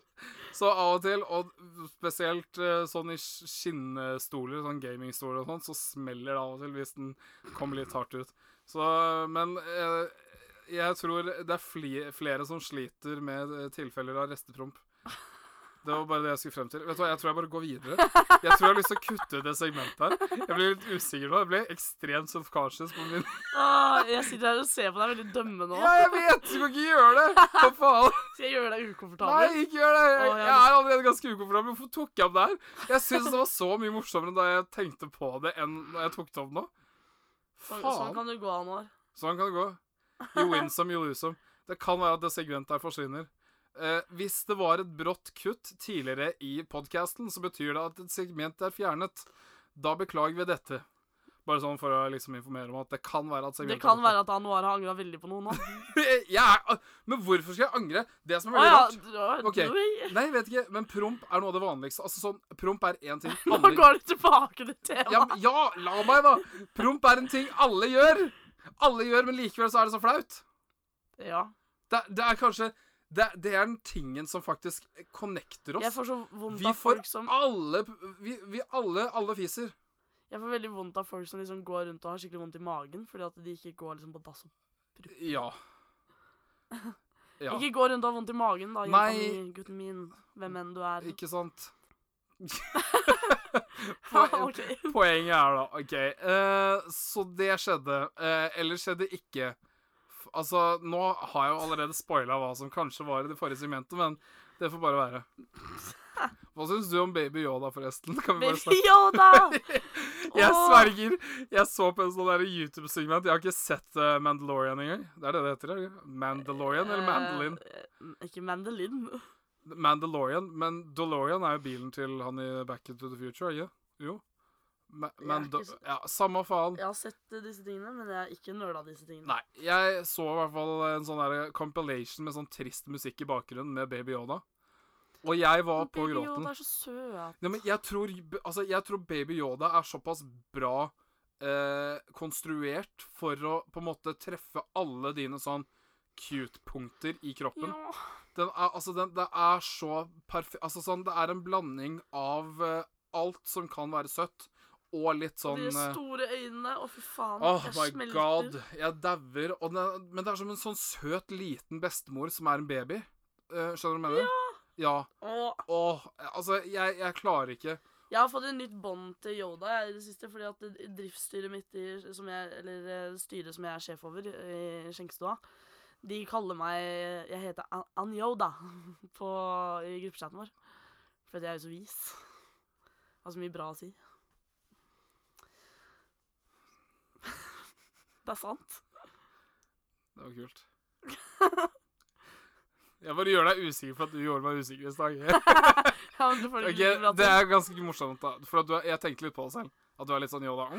A: så av og til, og spesielt eh, sånn i sk- skinnstoler, sånn gamingstoler og sånn, så smeller det av og til hvis den kommer litt hardt ut. Så, men eh, jeg tror det er fli- flere som sliter med eh, tilfeller av restepromp. Det var bare det jeg skulle frem til. Vet du hva, Jeg tror jeg bare går videre. Jeg tror jeg har lyst til å kutte ut det segmentet her. Jeg blir litt usikker nå. Jeg blir ekstremt self-conscious på min
B: Åh, jeg sitter her og ser på deg veldig dømmende
A: Ja,
B: nå.
A: jeg vet! Du kan ikke gjøre det! Hva faen?
B: Skal jeg gjøre deg ukomfortabel?
A: Nei, ikke gjør det! Jeg,
B: Å, jeg
A: jeg er allerede ganske ukomfortabel. Hvorfor tok jeg opp det her? Jeg syns det var så mye morsommere da jeg tenkte på det, enn da jeg tok det opp nå.
B: Så, sånn
A: Faen!
B: kan du gå an år.
A: Sånn kan det gå. You win some, you lose some. Det kan være at det segmentet her forsvinner. Eh, hvis det var et brått kutt tidligere i podkasten, så betyr det at et segment er fjernet. Da beklager vi dette. Bare sånn for å liksom informere om at det kan være at
B: Det
A: segmentet
B: kan være at Anuar har angra veldig på noe nå.
A: [laughs] Jeg er, men hvorfor skal jeg angre? Det som er
B: Å
A: veldig
B: ja.
A: rart
B: du-
A: Ok.
B: du-
A: Nei, jeg vet ikke, men promp er noe av det vanligste. Altså sånn, Promp er én
B: [laughs]
A: ting
B: Nå
A: alle
B: går du tilbake til
A: ja,
B: temaet.
A: men- ja, la meg, da! Promp er en ting alle gjør. Alle gjør, men likevel så er det så flaut.
B: Ja.
A: Det, det er kanskje det, det er den tingen som faktisk connecter
B: Jeg
A: oss.
B: får så vondt
A: Vi
B: av
A: får
B: folk som
A: alle Vi, vi alle, alle fiser.
B: Jeg får veldig vondt av folk som liksom går rundt og har skikkelig vondt i magen fordi at de ikke går liksom på dass. og-
A: Ja. Ja,
B: Ikke gå rundt og ha vondt i magen, da, jenta
A: Nei.
B: mi, gutten min, hvem enn du er. [laughs]
A: ikke sant?
B: Ok.
A: [laughs] Poenget er da OK. eh, så det skjedde. Uh, eller skjedde ikke. F altså, nå har jeg jo allerede spoila hva som kanskje var i det forrige segmentet, men det får bare være. Hva syns du om Baby Yoda, forresten? Kan vi bare
B: Baby [laughs]
A: snakke? [laughs]
B: Yoda!
A: Jeg
B: Åh.
A: sverger! Jeg så på en sånn der YouTube-segment. Jeg har ikke sett eh, Mandalorian engang. Det er det det heter? er det ikke? Mandalorian eller Mandolin?
B: Eh, eh, ikke mandolin.
A: Mandalorian, men Dolorian er jo bilen til han i Back to the Future, ikke? Jo. Ma
B: Jeg er
A: Mando...
B: ikke så-
A: Ja, samme faen.
B: Jeg har sett eh, disse tingene, men jeg har ikke nøla disse tingene.
A: Nei, jeg så i hvert fall en sånn der compilation med sånn trist musikk i bakgrunnen med Baby Yoda. Og jeg var på
B: Baby
A: gråten.
B: Yoda er så søt.
A: Ja, men jeg tror, altså, jeg tror Baby Yoda er såpass bra eh, konstruert for å på en måte treffe alle dine sånn cute-punkter i kroppen.
B: Ja.
A: Den er, altså, den, det er så perfekt Altså, sånn, det er en blanding av eh, alt som kan være søtt, og litt sånn
B: de
A: eh,
B: store øynene. Å, fy faen.
A: Oh
B: jeg
A: my
B: smelter.
A: god, jeg dauer. og den- Men det er som en sånn søt, liten bestemor som er en baby. Eh, skjønner du hva jeg mener? Ja.
B: Å,
A: Åh, altså, jeg, jeg klarer ikke
B: Jeg har fått et nytt bånd til Yoda jeg, i det siste, fordi at det- driftsstyret mitt i, som jeg, Eller eh, styret som jeg er sjef over i skjenkestua, de kaller meg Jeg heter An- An-Yoda [laughs] på, i gruppechatten vår. Fordi jeg er jo så vis. Har så mye bra å si. [laughs] Det er sant.
A: Det var
B: [laughs]
A: kult. Jeg bare gjør deg usikker for at du gjorde meg usikker
B: [laughs]
A: i stad. [laughs]
B: Ja, men du får
A: Ok,
B: det litt bra
A: det
B: til.
A: er ganske morsomt, da. For at du, er- jeg tenkte litt på det selv. At du er litt sånn Yoda.
B: [laughs]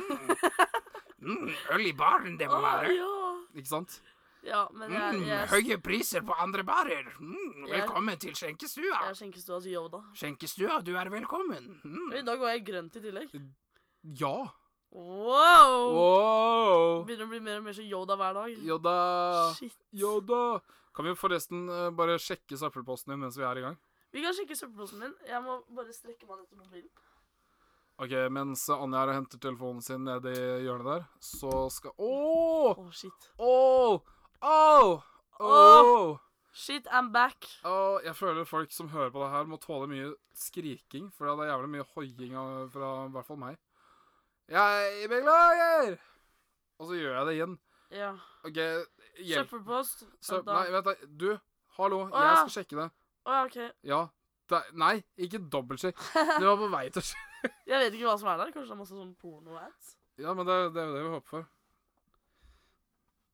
A: Mm. Mm, øl i baren, det må
B: Å,
A: være.
B: ja.
A: Ikke sant?
B: ja, men
A: Mm,
B: jeg, jeg, jeg,
A: høye priser på andre barer. Mm,
B: Jeg-
A: velkommen til skjenkestua.
B: er skjenkestua til Yoda.
A: Skjenkestua, du er velkommen.
B: Og I
A: Mm.
B: dag var jeg i grønt i tillegg.
A: Ja.
B: Wow!
A: Wow.
B: Begynner å bli mer og mer som Yoda hver dag.
A: Yoda.
B: Shit.
A: Yoda. Kan vi forresten eh, bare sjekke søppelposten din mens vi er i gang?
B: Vi kan sjekke søppelposen min. Jeg må bare strekke meg ned til mobilen.
A: Ok, mens Anja er og henter telefonen sin nede i hjørnet der, så skal Ååå!
B: Å, shit.
A: Ååå! Ååå!
B: Åh. Shit, I'm back.
A: Åh, Jeg føler folk som hører på det her, må tåle mye skriking. For det er jævlig mye hoiing av- fra i hvert fall meg. Jeg beklager! Og så gjør jeg det igjen.
B: Ja.
A: OK, hjelp.
B: Søppelpost.
A: Sø
B: Vent da.
A: nei, vent, da. Du, hallo.
B: Å,
A: Jeg
B: ja.
A: skal sjekke det.
B: Å, ja, ok.
A: Ja. Det, nei, ikke dobbeltsjekk. Du var på vei til å sjekke.
B: Jeg vet ikke hva som er der. Kanskje det er masse sånn porno-ads?
A: [laughs] Ja, men det, det er jo det vi håper for.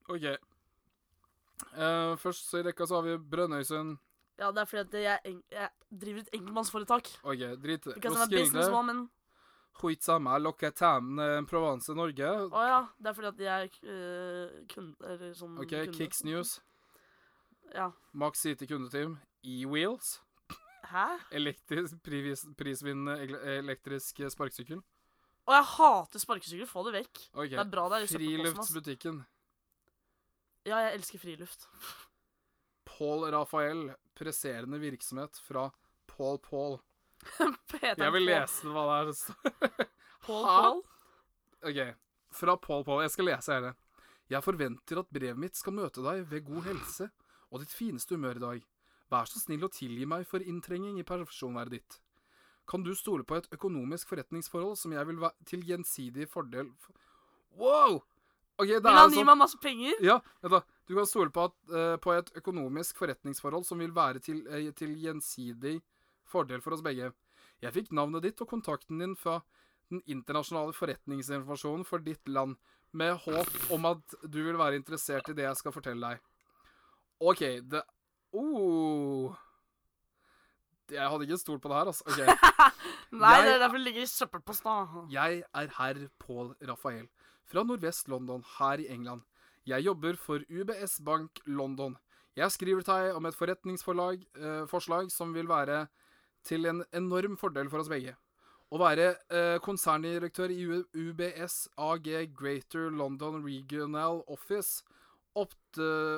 A: OK. Eh, først så i rekka så har vi Brønnøysund.
B: Ja, det er fordi at jeg, eng- jeg driver et enkeltmannsforetak.
A: OK, drit i det.
B: Because I'm a businesswoman.
A: Huitsama, Lokketam, eh, Provence, Norge.
B: Å ja. Det er fordi at jeg er øh, kunde, eller sånn
A: OK,
B: kunde.
A: Kicks News.
B: Ja.
A: Max City kundeteam. E-Wheels.
B: Hæ?
A: Elektrisk, privis, prisvinnende ele- elektrisk sparkesykkel.
B: Og jeg hater sparkesykler. Få det vekk.
A: OK.
B: Det er bra det er i søppelposten. ass.
A: Friluftsbutikken.
B: Ja, jeg elsker friluft.
A: Paul Rafael. Presserende virksomhet fra Paul Paul.
B: Peter
A: Jeg vil
B: Paul-
A: lese hva det er. [laughs] det står.
B: Paul
A: Ha?
B: Paul.
A: Ok, fra Paul Paul. Jeg skal lese hele. Jeg forventer at brevet mitt skal møte deg ved god helse og ditt fineste humør i dag. Vær så snill å tilgi meg for inntrenging i personverdet ditt. Kan du stole på et økonomisk forretningsforhold som jeg vil være til gjensidig fordel f- Wow! Ok, det
B: Vil
A: er
B: han
A: jo
B: gi
A: sånn
B: meg masse penger?
A: Ja, vent da. Du kan stole på, at, eh, på et økonomisk forretningsforhold som vil være til, eh, til gjensidig fordel for oss begge. Jeg fikk navnet ditt og kontakten din fra den internasjonale forretningsinformasjonen for ditt land, med håp om at du vil være interessert i det jeg skal fortelle deg. OK, det Oh. Jeg hadde ikke stolt på det her, altså. OK.
B: Nei,
A: Jeg-
B: det er derfor det ligger i søppelposten.
A: Jeg er herr Paul Rafael, fra Nordvest London her i England. Jeg jobber for UBS Bank London. Jeg skriver til deg om et forretningsforslag eh, forslag som vil være til en enorm fordel for oss begge. Å være eh, konserndirektør i U- UBS AG Greater London Regional Office opp,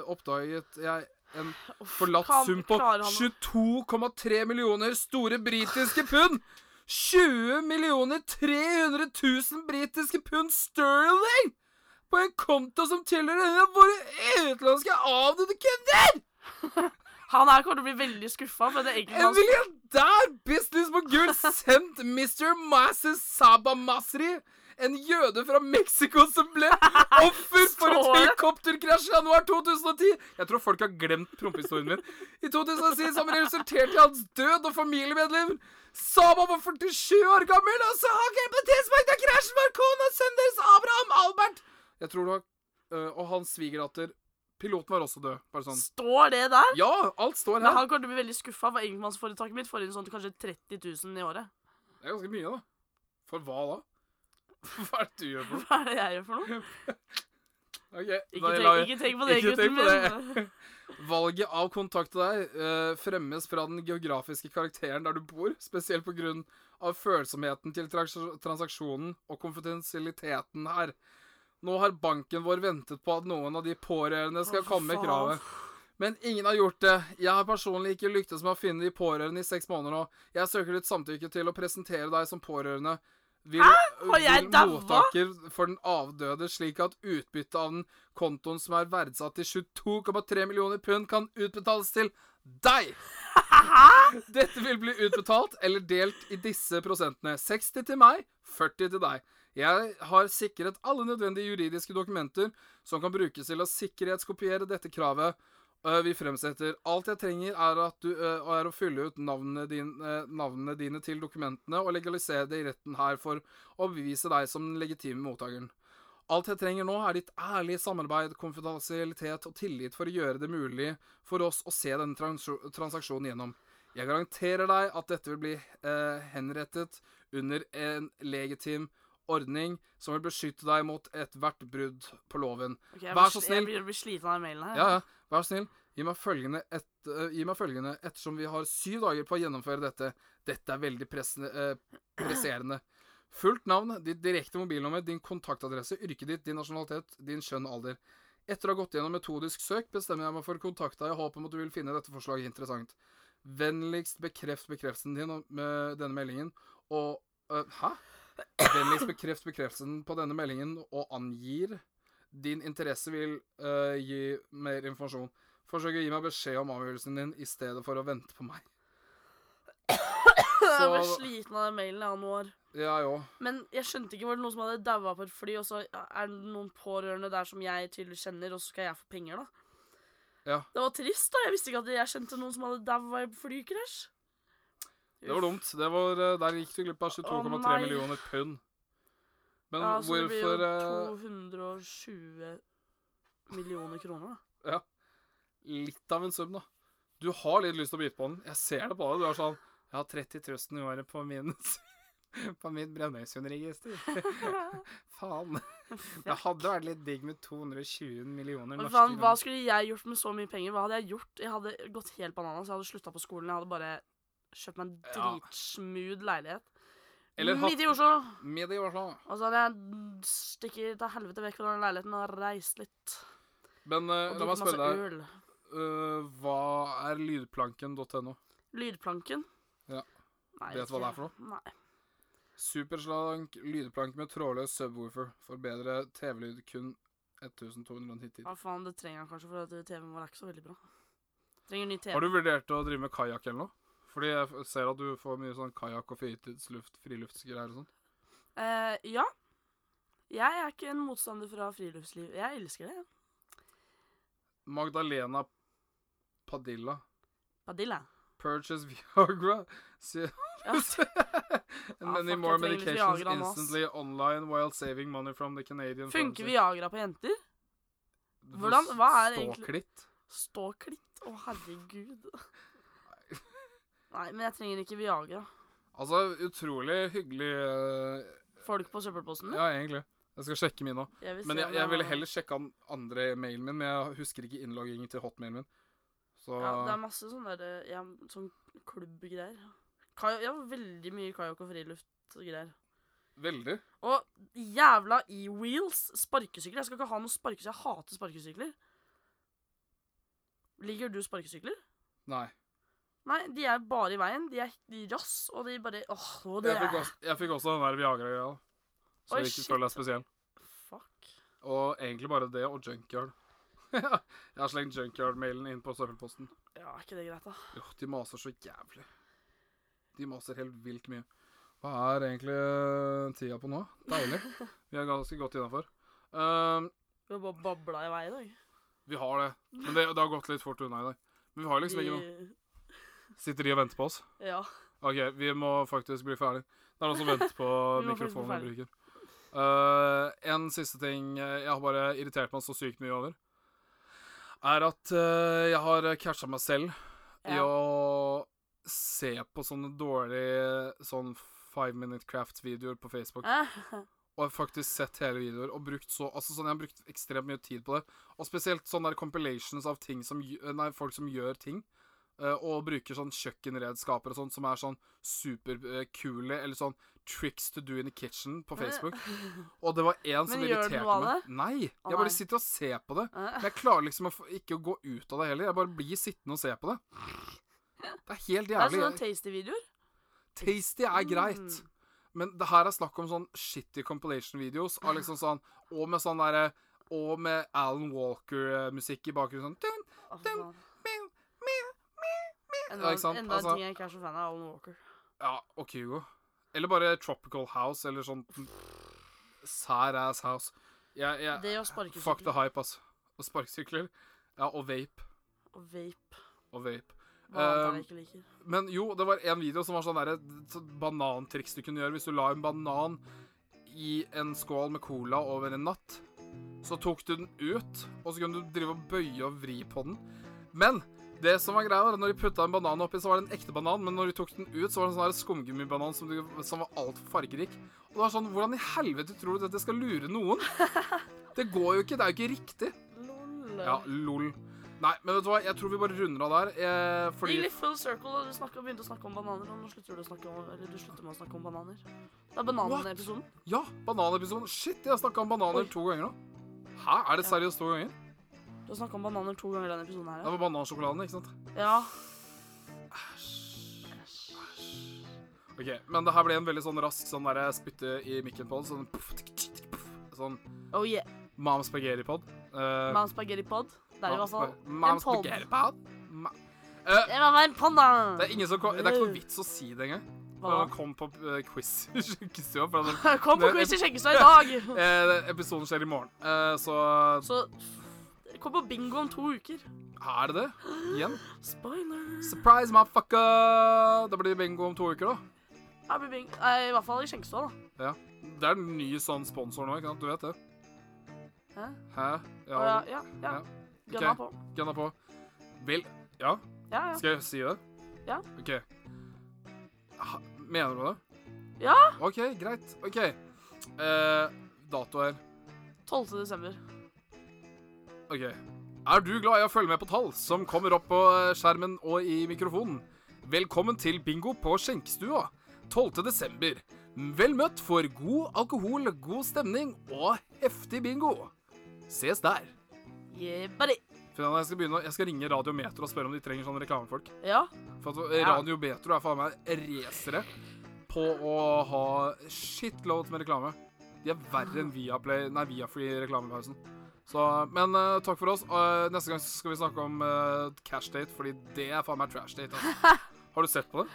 A: oppdaget jeg en forlatt
B: Kan-
A: sum på
B: klarer han å-
A: 22,3 millioner store britiske pund! 20 millioner 300 000 britiske pund sterling! På en konto som tilhører våre utenlandske avdøde kunder!
B: Han her kommer til å bli veldig skuffa. For det er egentlig
A: En
B: hans-
A: milliardær business på
B: [laughs]
A: gull sendt Mr. Masih Saba Masri, en jøde fra Mexico som
B: [laughs]
A: ble offer for et
B: Står det?
A: helikopterkrasj i januar 2010. Jeg tror folk har glemt prompehistorien min. I 2010 som resulterte i hans død og familiemedlemmer. Saba var 47 år gammel, og så har ikke på et tidspunkt da krasjen var kona og sønnen deres Abraham Albert. Jeg tror det var, øh, Og hans svigerdatter. Piloten var også død. Bare sånn.
B: Står det der?
A: Ja, alt står
B: Men
A: her.
B: han kommer til å bli veldig skuffa, for enkeltmannsforetaket mitt får inn sånn kanskje 30 000 i året. [laughs]
A: Det er ganske mye, da. For hva da? [laughs] Hva er det du gjør for noe?
B: Hva er det jeg gjør for noe?
A: Ok,
B: Ikke,
A: da
B: tenk,
A: lar jeg-
B: ikke tenk på det,
A: ikke
B: gutten
A: tenk
B: min.
A: på
B: [laughs]
A: Valget av kontakt til deg eh, fremmes fra den geografiske karakteren der du bor, spesielt pga. følsomheten til traks- transaksjonen og konfidensialiteten her. Nå har banken vår ventet på at noen av de pårørende skal
B: Å,
A: komme med
B: faen.
A: kravet. Men ingen har gjort det. Jeg har personlig ikke lyktes med å finne de pårørende i seks måneder nå. Jeg søker ditt samtykke til å presentere deg som pårørende. Vil, øh,
B: Har jeg
A: vil
B: daua?
A: mottaker for den avdøde, slik at utbyttet av den kontoen som er verdsatt til 22,3 millioner pund, kan utbetales til deg! Dette vil bli utbetalt eller delt i disse prosentene. 60 til meg, 40 til deg. Jeg har sikret alle nødvendige juridiske dokumenter som kan brukes til å sikkerhetskopiere dette kravet øh, vi fremsetter. Alt jeg trenger, er, at du, øh, er å fylle ut navnene dine, øh, navnene dine til dokumentene og legalisere det i retten her for å bevise deg som den legitime mottakeren. Alt jeg trenger nå, er ditt ærlige samarbeid, konfidensialitet og tillit for å gjøre det mulig for oss å se denne trans transaksjonen gjennom. Jeg garanterer deg at dette vil bli eh, henrettet under en legitim ordning som vil beskytte deg mot ethvert brudd på loven.
B: Ok, jeg
A: Vær
B: blir-
A: så snill.
B: Jeg blir, blir sliten av den mailen her.
A: Ja, ja, vær så snill. Gi meg, følgende et, eh, gi meg følgende ettersom vi har syv dager på å gjennomføre dette. Dette er veldig pressende, eh, presserende. Fullt navn, ditt direkte mobilnummer, din kontaktadresse, yrket ditt, din nasjonalitet, din kjønn og alder. Etter å ha gått gjennom metodisk søk, bestemmer jeg meg for å kontakte deg i håp om at du vil finne dette forslaget interessant. Vennligst bekreft bekreftelsen din om- med denne meldingen, og eh, Hæ? Vennligst bekreft bekreftelsen på denne meldingen, og angir din interesse vil eh, gi mer informasjon. Forsøk å gi meg beskjed om avgjørelsen din i stedet for å vente på meg.
B: [laughs] Jeg blir
A: Så
B: sliten av den mailen jeg har nå. år.
A: Ja, jo.
B: Men jeg skjønte ikke var det noen som hadde daua på et fly, og så er det noen pårørende der som jeg tydeligvis kjenner, og så skal jeg få penger, da.
A: Ja.
B: Det var trist, da. Jeg visste ikke at jeg kjente noen som hadde daua i flykrasj.
A: Det var dumt. Det var, eh, der gikk du glipp av 22,3
B: Å, nei.
A: millioner pund. Men
B: Ja, så det blir jo
A: hvorfor eh,
B: 220 millioner
A: [laughs]
B: kroner, da.
A: Ja. Litt av en sum, da. Du har litt lyst til å bite på den. Jeg ser det på deg. Du er sånn Jeg har 30 000 i året på min [laughs] På mitt Brønnøysundregister. [laughs]
B: [laughs]
A: Faen. Det hadde vært litt digg med 220 millioner
B: Men
A: norske
B: faen, hva
A: kroner.
B: skulle jeg gjort med så mye penger? Hva hadde jeg gjort? Jeg hadde gått helt bananas. Jeg hadde slutta på skolen. Jeg hadde bare kjøpt meg en
A: Ja.
B: dritsmooth leilighet.
A: Eller hatt-
B: Midt i Oslo.
A: Middag, i hvert fall.
B: Og så hadde jeg stikket til helvete vekk fra den leiligheten og reist litt.
A: Men eh,
B: Og altså,
A: la meg
B: drukket
A: spørre
B: masse
A: deg,
B: øl.
A: eh, hva er lydplanken.no?
B: Lydplanken.
A: Ja.
B: Nei,
A: Vet du hva det er for
B: noe? Nei.
A: Superslank lydplank med trådløs subwoofer. For bedre TV-lyd kun 1290.
B: Hva faen, det trenger han kanskje, for at TV-en vår er ikke så veldig bra. Trenger ny TV.
A: Har du vurdert å drive med kajakk eller noe? Fordi jeg f- ser at du får mye sånn kajakk og fritidsluft, friluftsgreier og sånn.
B: Eh, ja. Jeg er ikke en motstander fra friluftsliv. Jeg elsker det.
A: Magdalena Padilla.
B: Padilla.
A: Purchase Viagra. See-
B: Ja,
A: And
B: [laughs] Ja, fuck,
A: many
B: jeg
A: more
B: trenger litt
A: medications
B: Viagra nå, ass.
A: instantly online while saving money from the Canadian
B: Funker
A: pharmacy.
B: Viagra på jenter?
A: Du får
B: Hvordan- hva er
A: stå
B: egentlig-
A: klitt.
B: Stå klitt. Å, herregud. Nei, men jeg trenger ikke Viagra.
A: Altså, utrolig hyggelig eh,
B: Folk på søppelposten min?
A: Ja, egentlig. Jeg skal sjekke min nå.
B: Mm. Jeg vil
A: Men
B: se
A: jeg,
B: om
A: jeg ville
B: har-
A: heller sjekka den andre mailen min, men jeg husker ikke innloggingen til hotmailen min. Så
B: Ja, det er masse sånne der, ja, sånn klubbgreier. Kaj- Ja, veldig mye kajakk og friluftgreier.
A: veldig.
B: Og jævla e-wheels sparkesykler. Jeg skal ikke ha noen sparkesykler. Jeg hater sparkesykler. Liker du sparkesykler?
A: Nei.
B: Nei, de er bare i veien. De er de rass, og de bare Åh, og det
A: Jeg fikk også, jeg fikk også den der Viagra-greia. Så
B: Oi,
A: jeg ikke
B: shit.
A: føler deg spesiell.
B: Fuck.
A: Og egentlig bare det og junkyard. [laughs] jeg har slengt junkyard-mailen inn på søppelposten.
B: Ja, er ikke det greit, da?
A: Jo, de maser så jævlig. De maser helt vilt mye. Hva er egentlig tida på nå?
B: [laughs]
A: Deilig. Vi er ganske godt innafor. Um,
B: Vi har bare babla i vei i dag.
A: vi har det. Men det, det har gått litt fort unna i dag. Men vi har liksom ikke noe.
B: Vi-
A: Sitter de og venter på oss?
B: Ja.
A: OK, vi må faktisk bli ferdig. Det er
B: [laughs]
A: noen som venter på
B: Vi må faktisk bli
A: mikrofonen vi bruker. Eh, en siste ting eh, jeg har bare irritert meg så sykt mye over, er at eh, jeg har catcha meg selv i
B: ja.
A: å se på sånne dårlige sånn five minute crafts-videoer på Facebook.
B: [laughs] Eh,
A: Og har faktisk sett hele videoer og brukt så Altså sånn, jeg har brukt ekstremt mye tid på det. Og spesielt sånne der compilations av ting som gj- Nei, folk som gjør ting. eh, og bruker sånn kjøkkenredskaper og sånn som er sånn superkule, eller sånn tricks to do in the kitchen på Facebook. Og det var
B: [laughs]
A: én som
B: Eh. Men gjør du
A: irriterte
B: noe av
A: meg.
B: det?
A: Nei!
B: Å,
A: Jeg
B: nei.
A: bare sitter og ser på det.
B: eh.
A: Men jeg klarer liksom å få- ikke å gå ut av det heller. Jeg bare blir sittende og se
B: [laughs]
A: på det. Det er helt
B: Det er sånn
A: jævlig.
B: sånne tasty videoer.
A: Tasty er greit.
B: Mm.
A: Men det her er snakk om sånn shitty compilation videos av liksom sånn Og med sånn derre Og med Alan Walker-musikk i bakgrunnen. Sånn dun,
B: Å, fy
A: Dem-
B: faen.
A: miau, miau, miau, miau.
B: Enda,
A: Ja, ikke sant?
B: enda
A: Altså-
B: en ting jeg ikke er så fan av Alan Walker.
A: Ja, og Kygo. Eller bare Tropical House, eller sånn sær ass house. Jeg, jeg,
B: Det å
A: fuck the
B: sparkesykkel
A: hype, ass. Og sparkesykler. Ja, og vape.
B: og vape
A: Og vape.
B: Hva annet er
A: Um,
B: det jeg ikke liker?
A: Men jo, det var en video som var sånn derre sånn banantriks du kunne gjøre. Hvis du la en banan i en skål med cola over en natt, så tok du den ut, og så kunne du drive og bøye og vri på den. Men det som var greia, var at når de putta en banan oppi, så var det en ekte banan, men når de tok den ut, så var det en sånn der skumgummibanan som, du- som var altfor fargerik. Og det var sånn Hvordan i helvete tror du dette skal lure noen? Det går jo ikke. Det er jo ikke riktig.
B: Lol.
A: Ja, lol. Nei, men vet du hva, jeg tror vi bare runder av der. Eh,
B: Gikk
A: fordi
B: litt full circle, og du snakket, begynte å snakke om bananer, og nå slutter du å snakke om, eller du slutter med å snakke om bananer. Det er bananepisoden.
A: Ja, bananepisoden. Shit, jeg har snakka om bananer
B: Oi.
A: to ganger nå. Hæ, er det
B: Ja.
A: seriøst to ganger?
B: Du har snakket om bananer to ganger i denne episoden
A: Det
B: her,
A: var banansjokoladen, ikke sant?
B: ja. Ja.
A: Ok, men det her ble en veldig sånn rask sånn derre spytte i mikken på den, sånn puff, tikk, tikk, tikk, puff, Sånn
B: Oh yeah.
A: mam spaghetti-pod. Uh,
B: Man spaghetti pod. Det er altså- i hvert fall
A: Mam
B: en pod.
A: spaghetti-pod. Ma- Eh,
B: Det var en pod, da!
A: det er ingen som kom, Det er ikke noe vits å si det engang.
B: Hva [laughs]
A: Han
B: da?
A: kom på eh, quiz [laughs] i skjenkestua. for
B: [laughs]
A: at,
B: Kom på
A: Det-
B: quiz i Skjeggestad i
A: [laughs]
B: dag!
A: eh, Episoden skjer i morgen. Eh, så
B: Så f- kom på bingo om to uker.
A: er det det? Igjen?
B: Spoiler!
A: Surprise, motherfucker! Det blir bingo om to uker, da.
B: Her blir bingo. Nei, I hvert fall i Skjeggestad, da.
A: Det er en ny sånn sponsor nå, ikke sant? Du vet det?
B: Hæ?
A: Hæ? Ja,
B: Å, ja, ja.
A: Ja.
B: ja. Gønna på.
A: gønna på. Vil Ja,
B: Ja, ja.
A: skal jeg si det?
B: Ja.
A: OK. Ha- Mener du det?
B: Ja.
A: OK, greit. OK. Eh, datoer.
B: 12. desember.
A: OK. Er du glad i å følge med på tall som kommer opp på eh, skjermen og i mikrofonen? Velkommen til bingo på skjenkestua 12. desember. Vel møtt for god alkohol, god stemning og heftig bingo. Ses der.
B: Yeah, buddy.
A: Finn, jeg skal, begynne, å- jeg skal ringe Radio Metro og spørre om de trenger sånne reklamefolk.
B: Ja.
A: For at
B: Ja.
A: Radio Metro er faen meg racere på å ha shitloads med reklame. De er verre enn Viaplay Nei, Viafree i reklamepausen. Så, men eh, takk for oss. Eh, neste gang så skal vi snakke om eh, cash date, fordi det er faen meg trash date. Altså. Har du sett på det?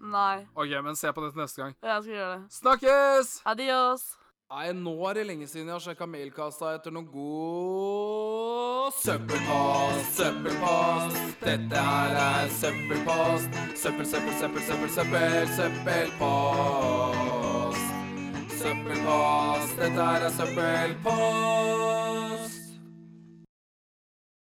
B: Nei.
A: OK, men se på det til neste gang.
B: Jeg skal gjøre det.
A: Snakkes!
B: Adios.
A: Nei, nå er det lenge siden jeg har sjekka mailkassa etter noe god Søppelpost, søppelpost. Dette her er søppelpost. Søppel, søppel, søppel, søppel, søppel, søppelpost. Søppelpost, dette her er søppelpost.